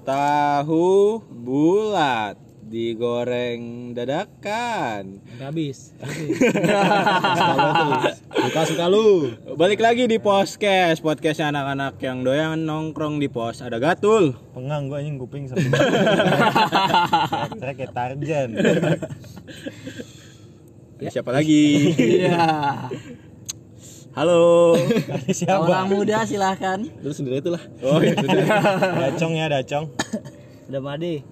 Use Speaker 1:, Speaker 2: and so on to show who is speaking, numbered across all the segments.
Speaker 1: Tahu bulat digoreng dadakan.
Speaker 2: Nggak habis. Buka suka lu.
Speaker 1: Balik lagi di podcast, podcastnya anak-anak yang doyan nongkrong di pos. Ada Gatul,
Speaker 3: Pengang gue anjing kuping sama Kayak kayak Tarzan
Speaker 1: ada siapa lagi?
Speaker 4: Iya.
Speaker 1: Halo.
Speaker 3: Ada
Speaker 2: Ya,
Speaker 4: Orang
Speaker 3: siapa?
Speaker 4: muda silahkan.
Speaker 2: Lu sendiri itulah.
Speaker 1: Oh ya sudah.
Speaker 3: Dacong ya Dacong
Speaker 4: Udah made.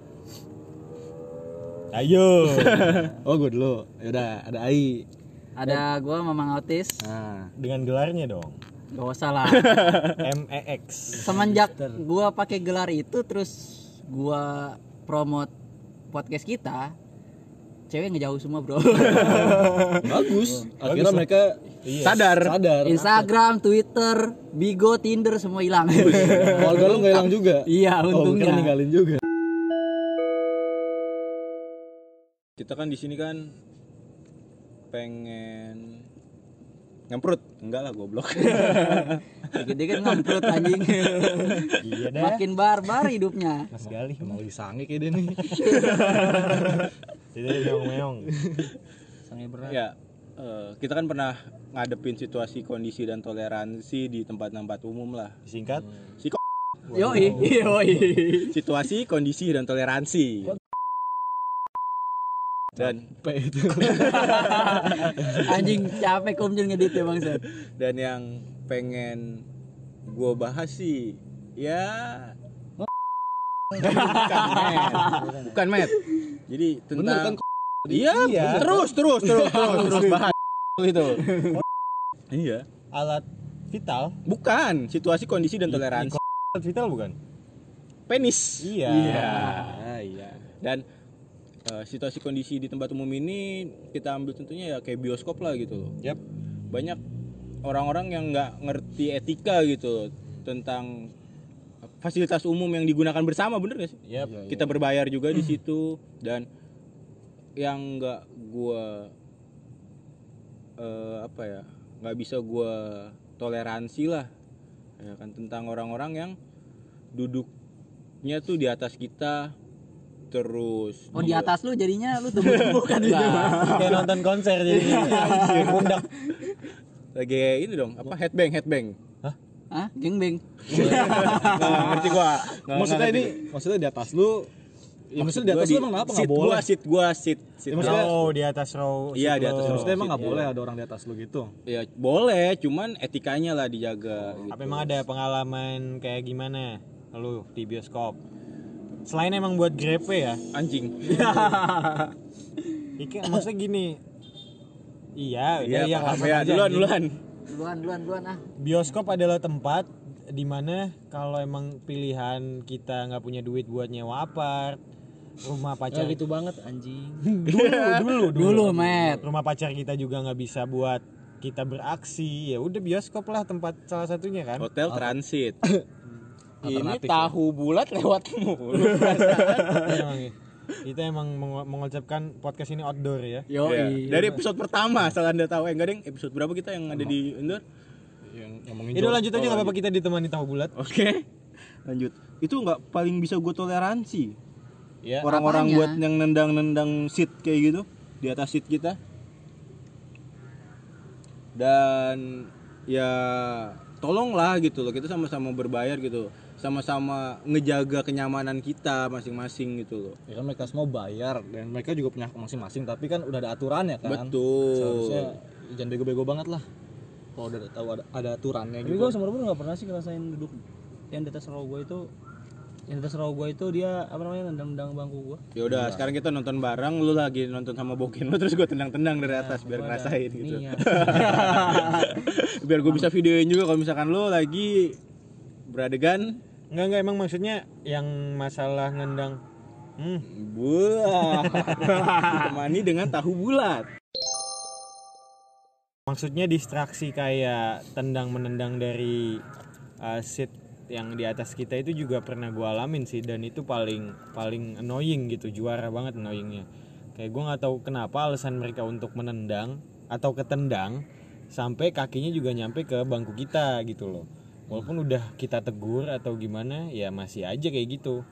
Speaker 3: Ayo
Speaker 2: Oh, gue dulu. Ya udah, ada Ai.
Speaker 4: Ada gua Mamang Otis.
Speaker 2: Nah,
Speaker 3: Dengan gelarnya dong E
Speaker 4: Gak usah lah.
Speaker 3: MEX
Speaker 4: Semenjak gua pakai gelar itu terus gua promote podcast kita, cewek ngejauh semua, Bro.
Speaker 2: bagus. Akhirnya mereka
Speaker 1: Iya. Sadar.
Speaker 2: sadar.
Speaker 4: Instagram, Twitter, Bigo, Tinder semua hilang.
Speaker 2: Keluarga lu nggak hilang juga.
Speaker 4: iya,
Speaker 2: Oh, bukan
Speaker 4: untungnya.
Speaker 2: ninggalin juga.
Speaker 1: Kita kan di sini kan pengen ngemprut. Enggak lah goblok.
Speaker 4: Dikit-dikit ngemprut anjing.
Speaker 3: Iya dah
Speaker 4: Makin barbar hidupnya.
Speaker 3: Mas Galih
Speaker 2: Mau disange kayak dia nih.
Speaker 3: Jadi meong-meong
Speaker 1: Ya, eh, kita kan pernah ngadepin situasi, kondisi dan toleransi di tempat-tempat umum lah.
Speaker 3: Disingkat
Speaker 4: Yoi, yoi.
Speaker 1: Situasi, kondisi dan toleransi. Dan
Speaker 2: P itu.
Speaker 4: Anjing capek komjen ngedit ya, Bang Set.
Speaker 1: dan yang pengen gue bahas sih ya bukan met. bukan met. Jadi
Speaker 2: Bener
Speaker 1: tentang
Speaker 2: kan?
Speaker 1: iya,
Speaker 3: Iya.
Speaker 1: terus terus terus terus terus bahas gitu. iya.
Speaker 3: Alat vital
Speaker 1: Bukan situasi kondisi dan toleransi
Speaker 3: Alat vital bukan?
Speaker 1: penis.
Speaker 3: Iya.
Speaker 1: Ah, iya. Dan eh, situasi kondisi di tempat umum ini kita ambil tentunya ya kayak bioskop lah gitu loh.
Speaker 3: Yap
Speaker 1: Banyak orang-orang yang nggak ngerti etika gitu loh tentang fasilitas umum yang digunakan bersama bener gak sih?
Speaker 3: Yap
Speaker 4: Iya,
Speaker 1: Kita berbayar juga di situ dan yang nggak gua eh, apa ya nggak bisa gua toleransi lah ya kan tentang orang-orang yang duduknya tuh di atas kita terus
Speaker 4: Oh di atas lu jadinya lu tumbuh-tumbuhkan gitu.
Speaker 3: Kayak nonton konser jadi Pundak
Speaker 1: lagi ini dong apa headbang headbang
Speaker 4: Hah? Gengbeng.
Speaker 1: nggak ngerti gua Nggak-
Speaker 2: maksudnya
Speaker 1: nggak ngerti
Speaker 2: ini,
Speaker 5: Iya.
Speaker 2: maksudnya di atas lu. Ya,
Speaker 1: Iya, gua.
Speaker 2: maksudnya di atas
Speaker 1: Gua
Speaker 2: lu emang kenapa
Speaker 1: seat
Speaker 2: nggak boleh?
Speaker 1: gua seat gua seat seat
Speaker 2: Ya,
Speaker 1: gua.
Speaker 2: maksudnya-
Speaker 3: Row di atas row
Speaker 1: Iya, di atas row.
Speaker 2: Maksudnya emang nggak
Speaker 1: Iya.
Speaker 2: boleh ada orang di atas lu gitu.
Speaker 1: ya boleh cuman etikanya lah dijaga gitu.
Speaker 3: Apa emang ada pengalaman kayak gimana? Lu di bioskop Selain emang buat grepe ya
Speaker 1: anjing
Speaker 2: Iya,
Speaker 3: Iki maksudnya gini. Iya, udah
Speaker 1: Iya,
Speaker 3: yang
Speaker 1: paham.
Speaker 3: lama
Speaker 1: ya,
Speaker 3: aja.
Speaker 1: duluan duluan
Speaker 4: Duluan, duluan, duluan ah.
Speaker 3: Bioskop adalah tempat dimana kalau emang pilihan kita nggak punya duit buat nyewa apart, rumah
Speaker 1: Oh,
Speaker 3: pacar
Speaker 5: gitu banget anjing
Speaker 3: dulu, dulu, dulu,
Speaker 4: Dulu, Matt.
Speaker 3: rumah pacar kita juga nggak bisa buat kita beraksi. Ya udah bioskop lah tempat salah satunya kan.
Speaker 1: hotel transit
Speaker 5: ini tahu bulat lewat mulu
Speaker 1: Iya.
Speaker 3: Emang ya. kita emang mengo- mengucapkan podcast ini outdoor ya.
Speaker 4: Yo,
Speaker 1: Iya. Dari episode pertama, asal anda tahu, eh enggak deng, episode berapa kita yang ada di indoor?
Speaker 2: Yang ngomongin
Speaker 5: Iya,
Speaker 3: Itu lanjut aja
Speaker 2: Oh,
Speaker 3: nggak apa-apa
Speaker 2: iya.
Speaker 3: kita ditemani tahu bulat.
Speaker 1: Oke, lanjut. Itu nggak paling bisa gue toleransi.
Speaker 3: Ya.
Speaker 1: Orang-orang
Speaker 4: Apanya?
Speaker 1: buat yang nendang-nendang seat kayak gitu di atas seat kita. Dan ya tolonglah gitu loh, kita sama-sama berbayar gitu, sama-sama ngejaga kenyamanan kita masing-masing gitu loh.
Speaker 2: Ya kan mereka semua bayar dan mereka juga punya hak masing-masing tapi kan udah ada aturannya kan. Seharusnya
Speaker 1: Betul.
Speaker 2: ya jangan bego-bego banget lah. Kalau udah tahu ada, ada aturannya
Speaker 5: tapi
Speaker 2: gitu.
Speaker 5: gue seumur umur nggak pernah sih ngerasain duduk yang di atas raw gue itu yang di atas raw gue itu dia apa namanya nendang-nendang bangku gue
Speaker 1: Ya udah, sekarang kita nonton bareng, lu lagi nonton sama bokin lu terus gue tendang-tendang dari atas biar ngerasain gitu.
Speaker 5: Iya.
Speaker 1: biar gue bisa videoin juga kalau misalkan lo lagi beradegan
Speaker 3: Enggak enggak emang maksudnya yang masalah ngendang. Hmm,
Speaker 1: buah temani dengan tahu bulat
Speaker 3: Maksudnya distraksi kayak tendang menendang dari uh, seat yang di atas kita itu juga pernah gua alamin sih dan itu paling paling annoying gitu juara banget annoyingnya. Kayak gua nggak tahu kenapa alasan mereka untuk menendang atau ketendang sampai kakinya juga nyampe ke bangku kita gitu loh. Walaupun udah kita tegur atau gimana ya masih aja kayak gitu.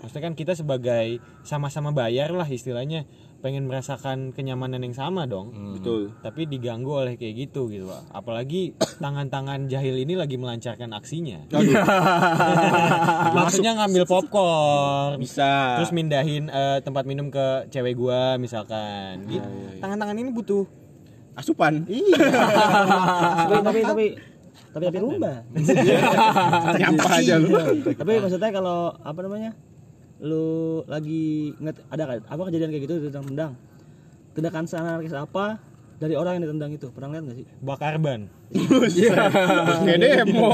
Speaker 3: maksudnya kan kita sebagai sama-sama bayar lah istilahnya pengen merasakan kenyamanan yang sama dong
Speaker 1: betul
Speaker 3: tapi diganggu oleh kayak gitu gitu Pak. apalagi tangan-tangan jahil ini lagi melancarkan aksinya Ah, maksudnya ngambil popcorn
Speaker 1: bisa
Speaker 3: terus mindahin eh, tempat minum ke cewek gua misalkan gitu tangan-tangan ini butuh
Speaker 1: asupan
Speaker 2: Ah,
Speaker 5: tapi tapi tapi tapi tapi rumba
Speaker 1: nyampah aja lu
Speaker 5: tapi maksudnya kalau apa namanya lu lagi ngeliat ada kan- apa kejadian kayak gitu ditendang tindakan anarkis apa dari orang yang ditendang itu pernah lihat nggak sih
Speaker 3: bakar ban
Speaker 1: terus kayak demo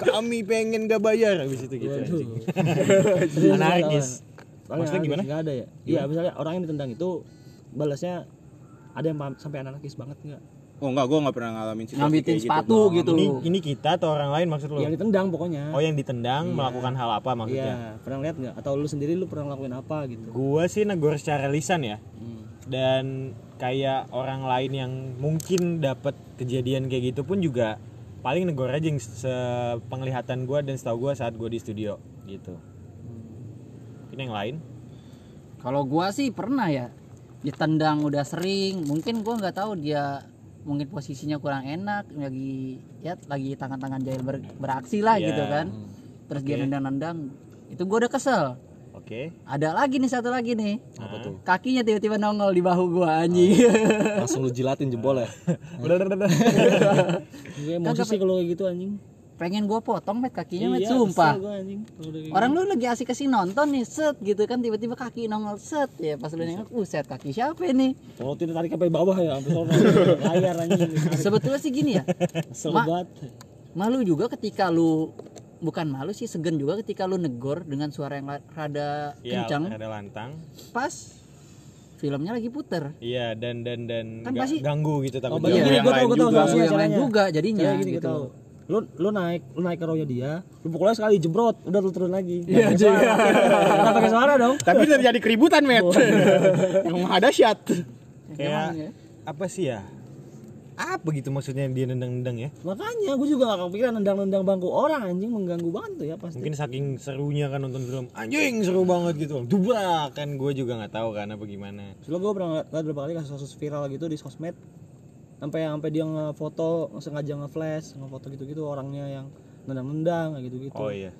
Speaker 3: kami pengen gak bayar habis itu gitu anjing.
Speaker 5: Serius,
Speaker 3: Anarkis. Maksudnya
Speaker 5: orang anarkis,
Speaker 3: gimana?
Speaker 5: nggak ada ya iya misalnya orang yang ditendang itu balasnya ada yang paham- sampai anarkis banget nggak
Speaker 1: oh enggak gua nggak pernah ngalamin situasi
Speaker 4: ngambitin
Speaker 1: kayak
Speaker 4: sepatu gitu,
Speaker 3: ini
Speaker 4: loh
Speaker 3: ini kita atau orang lain maksud lu
Speaker 5: yang ditendang pokoknya
Speaker 3: oh yang ditendang melakukan hal apa maksudnya
Speaker 5: iya pernah lihat nggak atau lu sendiri lu pernah lakuin apa gitu
Speaker 3: gua sih negor secara lisan ya
Speaker 4: Hmm.
Speaker 3: dan kayak orang lain yang mungkin dapat kejadian kayak gitu pun juga paling negor aja yang sepenglihatan gua dan setahu gua saat gua di studio gitu
Speaker 4: Hmm.
Speaker 3: ini yang lain
Speaker 4: Kalau gua sih pernah ya ditendang udah sering. Mungkin gua nggak tahu dia mungkin posisinya kurang enak lagi ya lagi tangan-tangan jahil ber- beraksi lah
Speaker 3: Iya.
Speaker 4: gitu kan. Terus dia
Speaker 3: Oke.
Speaker 4: nendang-nendang. Itu gua udah kesel.
Speaker 3: oke
Speaker 4: Ada lagi nih satu lagi nih.
Speaker 2: Apa
Speaker 3: Nah.
Speaker 2: tuh?
Speaker 4: Kakinya tiba-tiba nongol di bahu gua
Speaker 5: Oh,
Speaker 4: anjing.
Speaker 5: iya.
Speaker 2: Langsung lu jilatin jempol ya.
Speaker 3: udah udah udah, udah
Speaker 5: gue emosi sih kalau kayak gitu anjing
Speaker 4: Pengen gua potong met kakinya met
Speaker 5: Iya,
Speaker 4: sumpah.
Speaker 5: kesel gua, anjing kalau udah kayak gitu.
Speaker 4: Orang lu lagi asik kasih nonton nih set gitu kan tiba-tiba kaki nongol set ya pas lu nengok buset kaki siapa nih
Speaker 5: Kalau tidak tarik sampai bawah ya, sampai sono. Layar anjing.
Speaker 4: sebetulnya sih gini ya
Speaker 5: Kesel
Speaker 4: Ma-
Speaker 5: banget.
Speaker 4: malu juga ketika lu bukan malu sih segan juga ketika lu negor dengan suara yang la- rada
Speaker 3: Iya,
Speaker 4: kencang
Speaker 3: ada lantang
Speaker 4: pas filmnya lagi puter
Speaker 3: iya dan dan dan
Speaker 4: Kan
Speaker 3: ga-
Speaker 4: pasti-
Speaker 3: ganggu gitu takut
Speaker 5: Oh,
Speaker 1: banyak
Speaker 5: banyak
Speaker 1: gini,
Speaker 5: gini
Speaker 1: Iya, yang
Speaker 5: gua
Speaker 1: lain
Speaker 5: tau, gua tau
Speaker 1: juga.
Speaker 5: solusinya
Speaker 4: Iya, yang lain
Speaker 5: caranya.
Speaker 4: juga jadinya
Speaker 5: Caranya gini
Speaker 4: gitu
Speaker 5: gitu. Lu lu naik, lu naik ke rohnya dia, lu pukulnya sekali jebrot, udah lu turun lagi.
Speaker 4: Iya,
Speaker 5: Nggak pakai suara. Nggak pakai suara dong.
Speaker 1: tapi terjadi keributan met yang ada syat
Speaker 3: kayak
Speaker 4: Emang ya?
Speaker 3: apa sih ya apa gitu maksudnya dia nendang-nendang ya
Speaker 5: Makanya gue juga gak kepikiran nendang-nendang bangku orang anjing mengganggu banget tuh ya pasti.
Speaker 3: mungkin saking serunya kan nonton film anjing seru banget gitu dubrak kan gue juga nggak tahu kan apa gimana
Speaker 5: Soalnya gue pernah ngeliat ngeliat beberapa kali kasus-kasus viral gitu di sosmed sampai sampai dia ngefoto sengaja ngeflash ngefoto gitu-gitu orangnya yang nendang-nendang kayak gitu-gitu.
Speaker 3: oh iya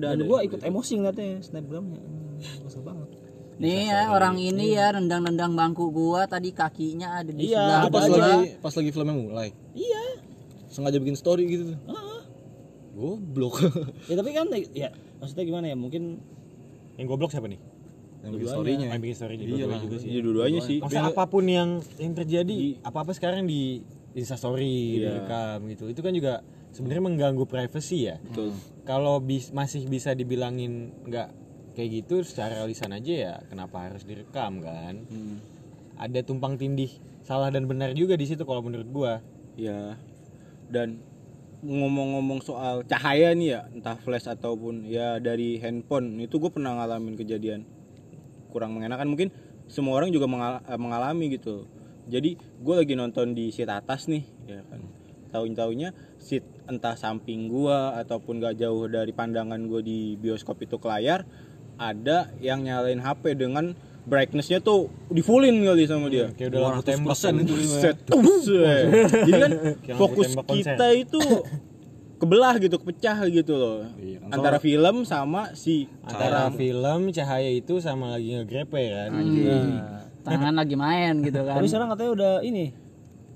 Speaker 5: Dan gue ikut emosi ngeliatnya snapgramnya anjing, kesel banget.
Speaker 4: nih ya orang ini
Speaker 3: Iya.
Speaker 4: ya nendang-nendang bangku gua tadi kakinya ada di
Speaker 5: Iya,
Speaker 4: sebelah
Speaker 5: ada
Speaker 2: Pas
Speaker 4: gua.
Speaker 2: lagi pas lagi filmnya mulai.
Speaker 5: Iya.
Speaker 2: Sengaja bikin story gitu tuh. Goblok.
Speaker 5: ya tapi kan ya maksudnya gimana ya mungkin
Speaker 3: yang goblok siapa nih
Speaker 2: Yang bikin story-nya.
Speaker 3: yang bikin story di
Speaker 2: Iya
Speaker 3: dua
Speaker 2: lah.
Speaker 3: juga
Speaker 1: ya
Speaker 3: sih
Speaker 1: dua-duanya sih
Speaker 3: maksudnya apapun yang yang terjadi apa apa sekarang di instastory
Speaker 2: Iya.
Speaker 3: di direkam gitu itu kan juga sebenarnya mengganggu privacy ya
Speaker 1: betul
Speaker 3: kalau bis- masih bisa dibilangin nggak kayak gitu secara lisan aja ya kenapa harus direkam kan
Speaker 1: Hmm.
Speaker 3: ada tumpang tindih salah dan benar juga di situ kalau menurut gua
Speaker 1: ya dan ngomong-ngomong soal cahaya nih ya entah flash ataupun ya dari handphone itu gue pernah ngalamin kejadian kurang mengenakan mungkin semua orang juga mengal- eh, mengalami gitu jadi gue lagi nonton di seat atas nih ya kan tahu taunya seat entah samping gua ataupun gak jauh dari pandangan gue di bioskop itu ke layar ada yang nyalain HP dengan brightnessnya tuh di fullin kali sama dia
Speaker 3: Iya, kayak udah lampu tembak kan.
Speaker 2: itu
Speaker 1: Buset, buset. Jadi kan
Speaker 3: Kayak
Speaker 1: fokus
Speaker 3: lampu tembak konser.
Speaker 1: kita itu kebelah gitu, kepecah gitu loh.
Speaker 2: Iya, kan
Speaker 1: Antara film sama si
Speaker 3: antara film cahaya itu sama lagi ngegrepe kan
Speaker 4: Nah, tangan lagi main gitu kan
Speaker 5: tapi sekarang katanya udah ini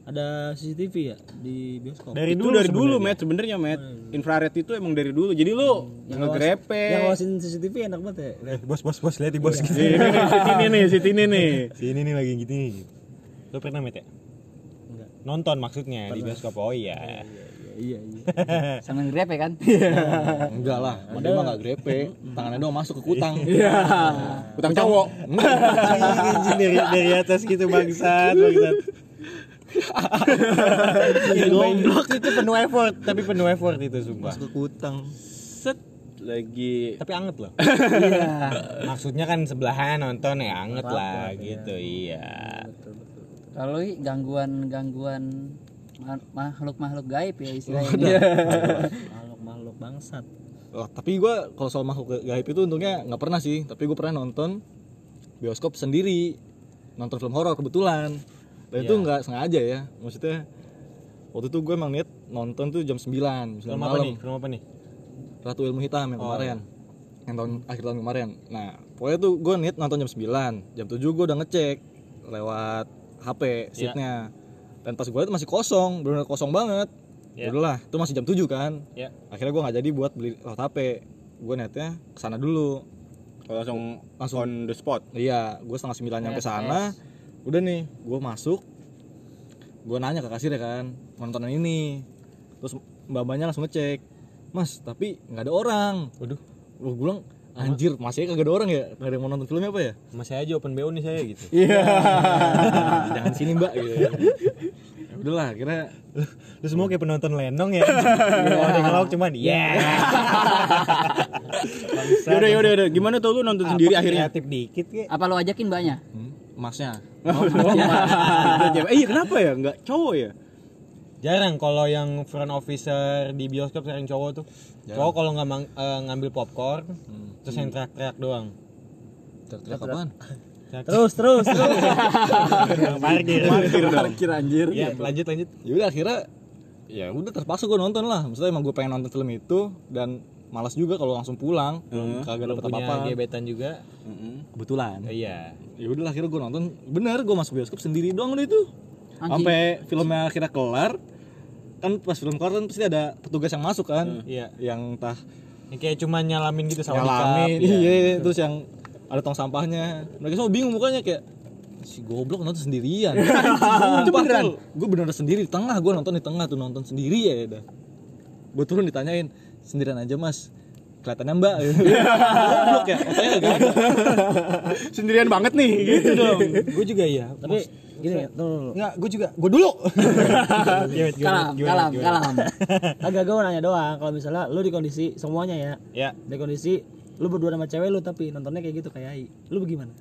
Speaker 5: ada CCTV ya di bioskop
Speaker 3: dari
Speaker 1: itu
Speaker 3: dulu
Speaker 1: dari dulu, Matt sebenarnya Matt. Infrared itu emang dari dulu. Jadi lu ngegrepe.
Speaker 5: Hmm. yang ngawasin CCTV enak banget ya
Speaker 3: Eh, bos bos bos lihat di
Speaker 2: Iya.
Speaker 3: bos gitu
Speaker 1: Nih, Iya, nih, nih, Sini nih, sini nih.
Speaker 3: sini nih lagi gitu nih lo pernah met ya
Speaker 5: Enggak.
Speaker 3: nonton maksudnya di bioskop oh iya
Speaker 5: iya iya
Speaker 3: eh.
Speaker 4: sambil grepe kan
Speaker 2: Enggak lah, sama dia mah enggak grepe. Tangannya doang masuk ke kutang.
Speaker 5: Iya. Ya.
Speaker 1: Utang cowok.
Speaker 3: Anjing, dari, dari atas gitu bangsat bangsat goblok itu penuh effort tapi penuh effort itu sumpah
Speaker 2: Ke kutang.
Speaker 1: Set lagi
Speaker 3: tapi anget loh
Speaker 4: iya
Speaker 3: maksudnya kan sebelahan nonton ya anget lah gitu iya
Speaker 4: kalau i- gangguan-gangguan ma- makhluk-makhluk gaib ya istilahnya
Speaker 5: makhluk makhluk bangsat
Speaker 2: Oh, tapi gua kalau soal makhluk gaib itu untungnya nggak pernah sih tapi gue pernah nonton bioskop sendiri nonton film horor kebetulan dan
Speaker 3: Iya.
Speaker 2: itu nggak sengaja ya maksudnya waktu itu gue emang niat nonton tuh jam 9 jam 9
Speaker 3: Film apa
Speaker 2: malam
Speaker 3: nih? Oh, iya. Film apa nih?
Speaker 2: Ratu Ilmu Hitam yang kemarin yang tahun akhir tahun kemarin nah pokoknya tuh gue niat nonton jam 9 jam 7 gue udah ngecek lewat HP
Speaker 5: Iya.
Speaker 2: seatnya dan pas gue itu masih kosong benar kosong banget
Speaker 3: Iya.
Speaker 2: Yaudah lah, itu masih jam 7 kan
Speaker 3: Iya.
Speaker 2: akhirnya gue nggak jadi buat beli lewat HP gue niatnya kesana dulu
Speaker 1: Oh, langsung
Speaker 2: Langsung.
Speaker 1: on the spot
Speaker 2: iya gue setengah sembilan nyampe
Speaker 4: Yes,
Speaker 2: sana udah nih gue masuk gue nanya ke kasir ya kan nontonan ini terus mbak-mbaknya langsung ngecek mas tapi nggak ada orang
Speaker 3: Waduh.
Speaker 2: gue bilang anjir masih kagak ada orang ya nggak ada yang mau nonton filmnya apa ya
Speaker 3: Masih aja open BO nih saya gitu.
Speaker 2: iya jangan sini mbak gitu ya udahlah akhirnya
Speaker 3: Lu semua kayak penonton lenong ya. Kalau ada yang ngelawak cuman "Iya." yeah. Bangsa.
Speaker 1: yaudah yaudah yaudah ya gimana tuh lu nonton sendiri akhirnya
Speaker 3: Kreatif dikit kek.
Speaker 4: Apa lo ajakin banyak?
Speaker 2: hmm, masnya
Speaker 1: Oh, Eh, iya kenapa ya nggak cowok ya
Speaker 3: Jarang kalau yang front officer di bioskop sering cowok tuh. Cowok kalau nggak mang- eh, ngambil popcorn, terus yang teriak-teriak doang.
Speaker 2: teriak apaan
Speaker 5: Terus terus terus.
Speaker 2: Iya,
Speaker 3: Parkir.
Speaker 1: parkir dong
Speaker 4: anjir.
Speaker 3: Ya, lanjut lanjut.
Speaker 2: ya udah akhirnya ya udah terpaksa gue nonton lah maksudnya emang gue pengen nonton film itu dan malas juga kalau langsung pulang
Speaker 3: Belum
Speaker 2: kagak dapet apa
Speaker 3: punya
Speaker 2: apa
Speaker 3: gebetan juga.
Speaker 2: kebetulan
Speaker 5: Hmm.
Speaker 3: Eh, Iya.
Speaker 2: ya udah lah, akhirnya gue nonton bener gue masuk bioskop sendiri doang udah itu
Speaker 4: Anjing.
Speaker 2: sampai filmnya akhirnya kelar kan pas film kelar kan pasti ada petugas yang masuk kan
Speaker 3: Iya.
Speaker 2: yang entah
Speaker 3: Yang kayak cuma nyalamin gitu sama
Speaker 2: nyalamin iya terus yang ada tong sampahnya mereka semua bingung mukanya kayak si goblok nonton sendirian itu beneran gue beneran sendiri di tengah gue nonton di tengah tuh nonton sendiri ya udah gue turun ditanyain sendirian aja mas kelihatannya mbak goblok ya otaknya gak ada
Speaker 1: sendirian banget nih
Speaker 2: Iya.
Speaker 1: gitu dong
Speaker 3: Gue juga iya.
Speaker 5: Tapi gini ya, tunggu, tunggu, tunggu.
Speaker 3: Enggak, gue juga. Gue dulu. Gimana, gimana,
Speaker 4: Kalam,
Speaker 3: gimana,
Speaker 4: kalam,
Speaker 3: gimana?
Speaker 4: kalam.
Speaker 5: Agak gue nanya doang kalau misalnya lu di kondisi semuanya ya.
Speaker 3: Ya,
Speaker 5: Di kondisi lu berdua sama cewek lu tapi nontonnya kayak gitu kayak Ai. Lu bagaimana?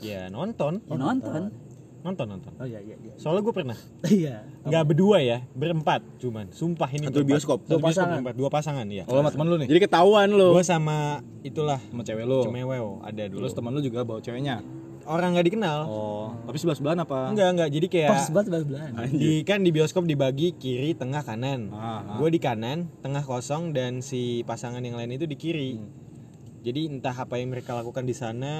Speaker 3: ya nonton,
Speaker 4: Ya nonton.
Speaker 3: nonton nonton.
Speaker 5: Oh iya iya iya.
Speaker 3: Soalnya gue pernah.
Speaker 5: Iya.
Speaker 3: Nggak berdua ya, berempat cuman. Sumpah ini
Speaker 1: Satu
Speaker 3: berempat.
Speaker 1: bioskop?
Speaker 3: Satu
Speaker 5: Dua
Speaker 3: bioskop
Speaker 5: pasangan.
Speaker 3: berempat, dua pasangan ya.
Speaker 2: kalau sama temen lu nih
Speaker 1: jadi ketahuan lo
Speaker 3: Gue sama itulah
Speaker 2: Oh. sama cewek lu
Speaker 3: cemewew ada dulu.
Speaker 2: terus temen lu juga bawa ceweknya
Speaker 3: Orang nggak dikenal.
Speaker 2: oh tapi sebelah sebelahan apa
Speaker 3: Enggak enggak. Jadi
Speaker 2: Iya.
Speaker 3: kayak
Speaker 5: Pas banget belas belahan.
Speaker 3: di kan di bioskop dibagi kiri, tengah, kanan.
Speaker 2: Ah, ah.
Speaker 3: Gue di kanan, tengah kosong dan si pasangan yang lain itu di kiri.
Speaker 2: Hmm.
Speaker 3: Jadi entah apa yang mereka lakukan di sana,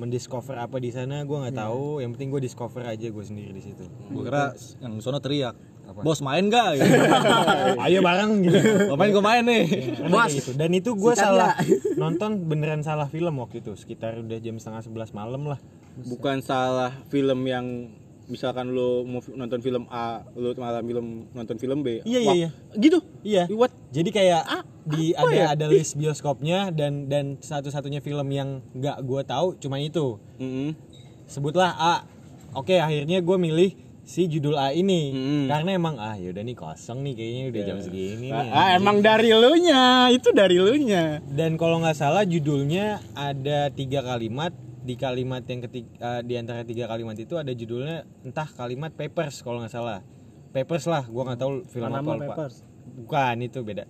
Speaker 3: mendiscover apa di sana, gue
Speaker 2: Iya.
Speaker 3: nggak tahu. Yang penting gue discover aja gue sendiri di situ.
Speaker 2: gue kira yang sono teriak bos main gak gitu.
Speaker 3: Ayo bareng gitu.
Speaker 2: Gak main gue main nih
Speaker 3: Karena kayak gitu. Dan itu gue salah nonton beneran salah film waktu itu sekitar udah jam setengah sebelas malam lah.
Speaker 1: bukan salah film yang misalkan lo mau fi- nonton film A lo malam film nonton film B
Speaker 3: Iya,
Speaker 1: Wah,
Speaker 3: iya, iya.
Speaker 1: gitu
Speaker 3: Iya.
Speaker 1: what
Speaker 3: Jadi kayak
Speaker 1: Ah,
Speaker 3: di ada
Speaker 1: ya?
Speaker 3: ada list bioskopnya dan dan satu-satunya film yang nggak gue tahu cuma itu.
Speaker 1: Mm-mm.
Speaker 3: sebutlah A. Oke, akhirnya gue milih si judul A ini
Speaker 1: Hmm.
Speaker 3: karena emang ah yaudah nih kosong nih kayaknya udah jam segini nih.
Speaker 1: ah, emang dari lo nya itu dari lo nya
Speaker 3: Dan kalau nggak salah judulnya ada tiga kalimat di kalimat yang ketiga di antara tiga kalimat itu ada judulnya entah kalimat papers kalau nggak salah papers lah gue nggak tahu film apa
Speaker 5: Panama
Speaker 3: lupa.
Speaker 5: Papers.
Speaker 3: bukan itu beda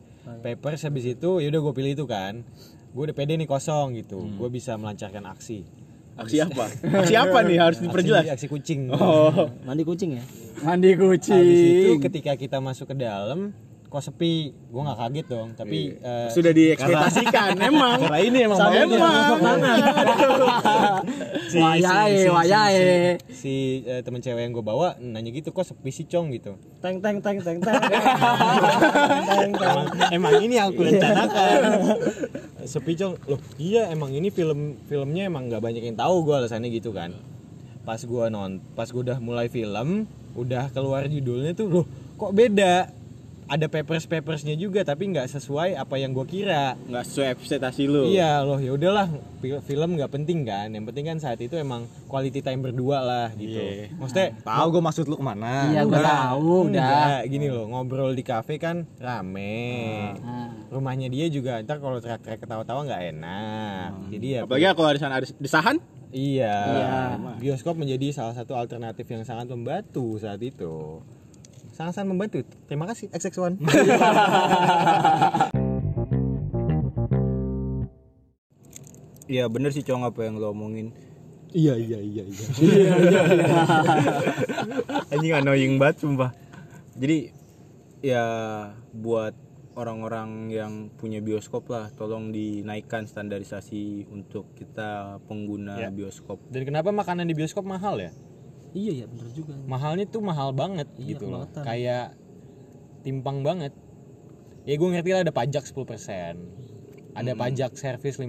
Speaker 3: papers habis itu yaudah gue pilih itu kan gue udah pede nih kosong gitu gue bisa melancarkan aksi
Speaker 1: aksi apa aksi apa nih harus diperjelas
Speaker 3: aksi, aksi kucing
Speaker 1: oh
Speaker 5: Mandi kucing ya.
Speaker 4: Mandi
Speaker 3: Habis itu
Speaker 4: kucing.
Speaker 3: ketika kita masuk ke dalam kok sepi, gue nggak kaget dong. Tapi eh,
Speaker 1: Iya. sudah diekspektasikan emang
Speaker 2: karena ini emang main
Speaker 3: si,
Speaker 4: Wayahe, wayahe.
Speaker 3: si, si, eh, temen cewek yang gue bawa nanya gitu kok sepi sih cong gitu.
Speaker 5: Teng teng teng teng teng.
Speaker 3: emang, emang ini yang aku rencanakan. sepi cong, loh iya emang ini film filmnya emang nggak banyak yang tahu gue alasannya gitu kan. Pas gue non, pas gue udah mulai film, udah keluar judulnya tuh loh kok beda. Ada papers papersnya juga tapi nggak sesuai apa yang gue kira.
Speaker 1: nggak sesuai ekspektasi lo
Speaker 3: Iya loh ya udahlah fil- film nggak penting kan yang penting kan saat itu emang quality time berdua lah gitu
Speaker 1: Iya.
Speaker 3: maksudnya
Speaker 2: tahu gue maksud lu kemana
Speaker 4: Iya, gua tahu udah.
Speaker 3: enggak, gini loh ngobrol di kafe kan rame
Speaker 2: Hmm.
Speaker 4: Nah,
Speaker 3: rumahnya dia juga ntar kalau teriak-teriak ketawa-tawa nggak enak
Speaker 2: Hmm.
Speaker 3: jadi ya
Speaker 1: apalagi kalau di sana ada desahan
Speaker 3: iya bioskop menjadi salah satu alternatif yang sangat membantu saat itu sangat-sangat membantu terima kasih XX1
Speaker 1: ya bener sih cong apa yang lo omongin iya.
Speaker 2: iya iya iya iya
Speaker 1: anjing annoying banget sumpah jadi ya buat orang-orang yang punya bioskop lah tolong dinaikkan standarisasi untuk kita pengguna bioskop
Speaker 3: Dan kenapa makanan di bioskop mahal ya?
Speaker 5: iya ya bener juga
Speaker 3: Mahalnya tuh mahal banget
Speaker 5: Iya,
Speaker 3: gitu loh.
Speaker 5: kelewatan.
Speaker 3: Kayak timpang banget. Ya gue ngerti lah ada pajak 10%.
Speaker 2: Hmm.
Speaker 3: Ada pajak servis 5%.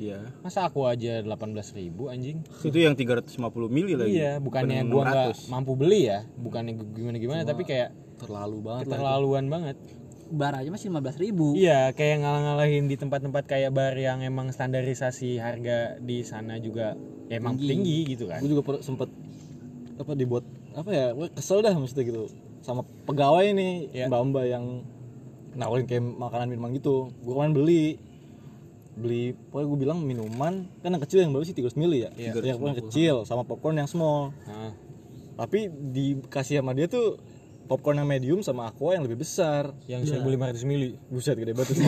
Speaker 1: ya
Speaker 3: Masa aku aja 18.000 anjing?
Speaker 1: itu yang 350 mili lagi
Speaker 3: Iya, bukannya gua nggak mampu beli ya, bukannya gimana gimana, tapi kayak
Speaker 2: terlalu banget lah
Speaker 3: keterlaluan banget.
Speaker 4: bar
Speaker 5: Nah,
Speaker 4: aja masih 15.000 ribu
Speaker 3: Iya, kayak ngalah-ngalahin di tempat-tempat kayak bar yang emang standarisasi harga di sana juga ya emang tinggi, gitu kan.
Speaker 2: gue juga per- sempet apa dibuat apa ya gue kesel dah maksudnya gitu sama pegawai nih
Speaker 5: Iya.
Speaker 3: Ya.
Speaker 2: mbak mbak yang nawarin kayak makanan minuman gitu gue kemarin beli beli pokoknya gue bilang minuman kan yang kecil yang baru sih 300 mili ya
Speaker 3: Iya.
Speaker 2: yang paling kecil sama popcorn yang small
Speaker 3: Nah,
Speaker 2: tapi dikasih sama dia tuh popcorn yang medium sama aqua yang lebih besar
Speaker 3: yang bisa beli 500 mili.
Speaker 2: buset gede banget Oh,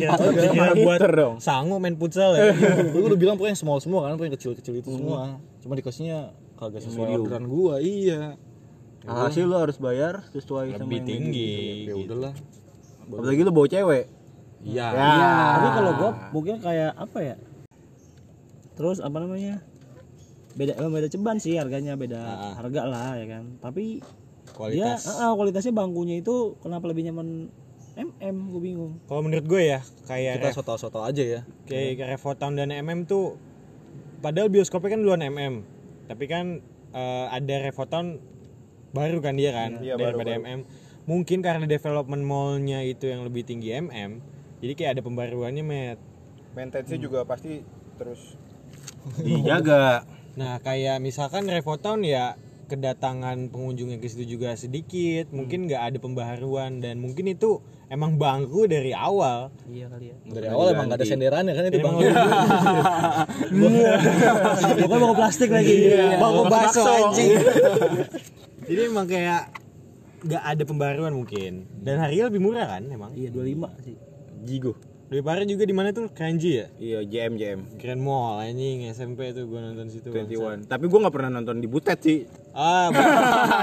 Speaker 2: iya.
Speaker 3: Kira-kira Iya. buat sangu main futsal ya. Hmm.
Speaker 2: gue udah Iya. bilang pokoknya small semua kan pokoknya kecil kecil itu semua cuma dikasihnya kagak sesuai orderan gue iya
Speaker 1: Ah, hasil lo harus bayar sesuai sama
Speaker 3: Lebih
Speaker 1: yang
Speaker 3: tinggi.
Speaker 2: ya
Speaker 3: gitu.
Speaker 2: udahlah
Speaker 1: medium. apalagi lo bawa cewek
Speaker 2: iya
Speaker 5: tapi kalau gue mungkin kayak apa ya terus apa namanya beda emang beda ceban sih harganya beda
Speaker 2: Ah.
Speaker 5: harga lah ya kan tapi
Speaker 3: Kualitas.
Speaker 5: dia
Speaker 2: Ya.
Speaker 5: ah, ah, kualitasnya bangkunya itu kenapa lebih nyaman mm gue bingung
Speaker 3: Kalau menurut gue ya, kayak
Speaker 2: kita
Speaker 3: ref-
Speaker 2: soto-soto aja ya
Speaker 3: kayak Revotown dan MM tuh padahal bioskopnya kan duluan MM tapi kan eh, ada Revotown baru kan dia kan
Speaker 2: Iya,
Speaker 3: daripada MM mungkin karena development mallnya itu yang lebih tinggi MM jadi kayak ada pembaruannya met
Speaker 6: maintenance juga pasti terus
Speaker 1: dijaga
Speaker 3: nah kayak misalkan Revotown ya kedatangan pengunjungnya ke situ juga sedikit mungkin nggak ada pembaharuan dan mungkin itu emang bangku dari awal
Speaker 5: iya kali ya
Speaker 2: dari awal emang gak ada senderannya kan itu bang
Speaker 5: pokoknya Iya. bangku Iya. plastik lagi
Speaker 3: Iya,
Speaker 2: Iya.
Speaker 3: Bangku bakso anjing. Jadi emang kayak nggak ada pembaruan mungkin. Dan harganya lebih murah kan emang.
Speaker 5: iya 25 sih
Speaker 1: jigo
Speaker 3: Lebih parah juga di mana tuh Kranji ya?
Speaker 1: iya jm jm
Speaker 3: Grand Mall anjing SMP tuh gua nonton situ. bangsa.
Speaker 1: 21 tapi gue nggak pernah nonton di butet sih
Speaker 3: Ah,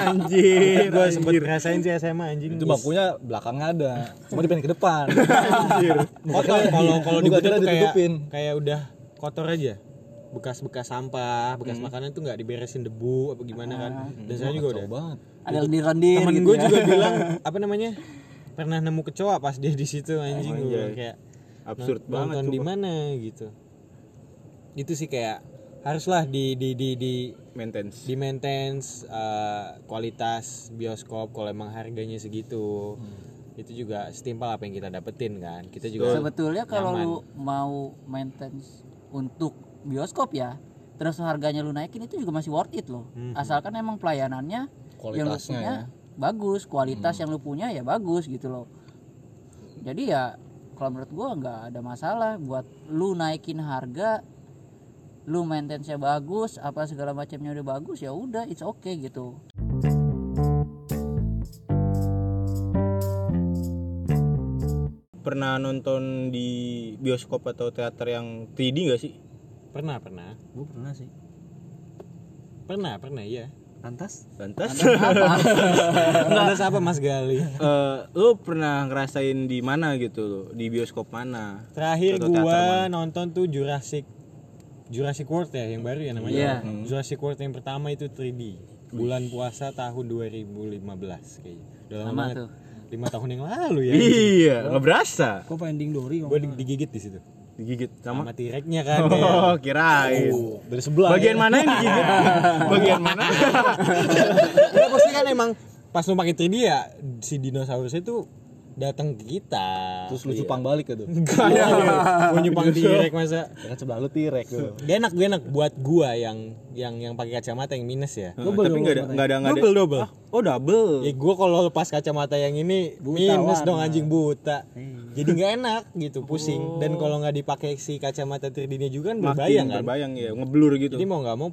Speaker 3: anjir. gua sempet ngerasain sih SMA anjing.
Speaker 2: itu bangkunya belakangnya ada cuma dipengen ke depan
Speaker 3: Kotor. Oh, kalau kalau di
Speaker 2: Bukan,
Speaker 3: Butet
Speaker 2: akhirnya
Speaker 3: tuh kayak
Speaker 2: ditutupin.
Speaker 3: kayak udah kotor aja ya? bekas-bekas sampah, bekas makanan tuh nggak diberesin debu apa gimana kan. Dan saya juga udah
Speaker 2: Jauh banget
Speaker 4: ada lendir-lendir
Speaker 3: temen
Speaker 4: gitu
Speaker 3: gue
Speaker 4: ya.
Speaker 3: juga bilang apa namanya pernah nemu kecoa pas dia di situ anjing gue bilang kayak
Speaker 1: absurd
Speaker 3: "Nont-
Speaker 1: banget
Speaker 3: nonton di mana gitu itu sih kayak haruslah di di di di
Speaker 1: maintenance
Speaker 3: di maintenance uh, kualitas bioskop kalau emang harganya segitu itu juga setimpal apa yang kita dapetin kan kita juga
Speaker 4: sebetulnya kalau lu mau maintenance untuk bioskop ya terus harganya lu naikin itu juga masih worth it loh
Speaker 1: Hmm.
Speaker 4: asalkan emang pelayanannya yang lu
Speaker 3: ya.
Speaker 2: Kualitasnya
Speaker 1: ya.
Speaker 4: punya bagus kualitas
Speaker 1: Hmm.
Speaker 4: yang lu punya ya bagus gitu loh jadi ya kalau menurut gua nggak ada masalah buat lu naikin harga lu maintenance-nya bagus apa segala macamnya udah bagus ya udah it's okay gitu
Speaker 1: pernah nonton di bioskop atau teater yang 3D gak sih
Speaker 3: pernah pernah
Speaker 5: gue pernah sih
Speaker 3: pernah pernah iya
Speaker 5: lantas
Speaker 1: lantas
Speaker 3: lantas apa mas Gali
Speaker 1: eh lo pernah ngerasain di mana gitu lo di bioskop mana
Speaker 3: Terakhir
Speaker 1: Atau
Speaker 3: gua nonton tuh Jurassic Jurassic World ya yang baru ya namanya.
Speaker 4: Iya.
Speaker 3: Hmm. Jurassic World yang pertama itu 3D. Bulan puasa tahun 2015 kayaknya. Udah lama
Speaker 4: Lama
Speaker 3: banget.
Speaker 4: tuh.
Speaker 3: 5 tahun yang lalu ya.
Speaker 1: iya nggak berasa
Speaker 5: gue finding Dory
Speaker 3: Gua di- digigit di situ.
Speaker 1: digigit sama
Speaker 3: Sama T-Rex-nya kan. ya. kayak.
Speaker 1: oh kirain
Speaker 2: dari sebelah
Speaker 1: bagian mana yang digigit bagian mana
Speaker 3: Ya, maksudnya kan emang pas lu pakai 3D ya si dinosaurusnya tuh datang ke kita. Iya.
Speaker 2: terus lu cupang balik gitu
Speaker 3: Enggak ya. Gua nyumpang T-Rex masa.
Speaker 2: kan sebelah lu tirek tuh
Speaker 3: Gak enak, gak enak buat gua yang yang yang pakai kacamata yang minus ya.
Speaker 1: tapi nggak ada nggak ada nggak ada
Speaker 3: Double double.
Speaker 2: Ah.
Speaker 1: oh double
Speaker 3: Ya gue kalau lepas kacamata yang ini minus dong anjing buta.
Speaker 2: Iya.
Speaker 3: Jadi nggak enak gitu, pusing.
Speaker 2: Oh.
Speaker 3: Dan kalau nggak dipakai si kacamata 3D-nya juga kan berbayang kan.
Speaker 1: berbayang ya ngeblur gitu
Speaker 3: Jadi mau nggak mau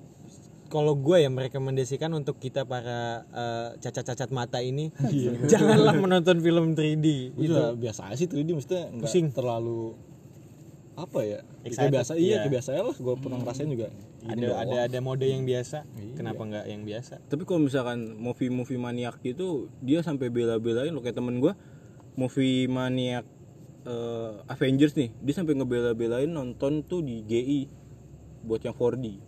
Speaker 3: kalau gue yang merekomendasikan untuk kita para eh, cacat-cacat mata ini
Speaker 2: Iya.
Speaker 3: janganlah menonton film Gitu. 3D.
Speaker 2: itu biasa aja sih 3D maksudnya nggak
Speaker 3: Pusing.
Speaker 2: terlalu apa ya?
Speaker 3: Excited,
Speaker 2: Kebiasaan
Speaker 3: iya.
Speaker 2: iya, kebiasaan lah gue pernah ngerasain juga. Ini
Speaker 3: ada ada
Speaker 2: doang.
Speaker 3: ada mode yang biasa
Speaker 2: Iya.
Speaker 3: kenapa nggak yang biasa
Speaker 1: tapi kalau misalkan movie movie maniak gitu dia sampai bela-belain loh kayak temen gue movie maniak eh, Avengers nih dia sampai ngebela-belain nonton tuh di GI buat yang 4D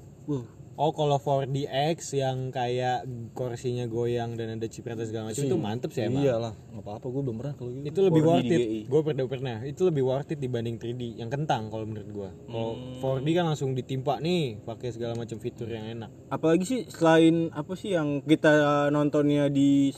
Speaker 3: oh kalau 4DX yang kayak kursinya goyang dan ada cipratan segala macam itu mantep sih emang
Speaker 2: Iya lah, nggak apa-apa gue belum pernah kalau gitu.
Speaker 3: itu lebih
Speaker 1: 4D di
Speaker 3: worth it
Speaker 1: GI.
Speaker 3: gue pernah pernah itu lebih worth it dibanding 3D yang kentang kalau menurut gue kalau
Speaker 2: Hmm.
Speaker 3: 4D kan langsung ditimpa nih pakai segala macam fitur yang enak
Speaker 1: apalagi sih selain apa sih yang kita nontonnya di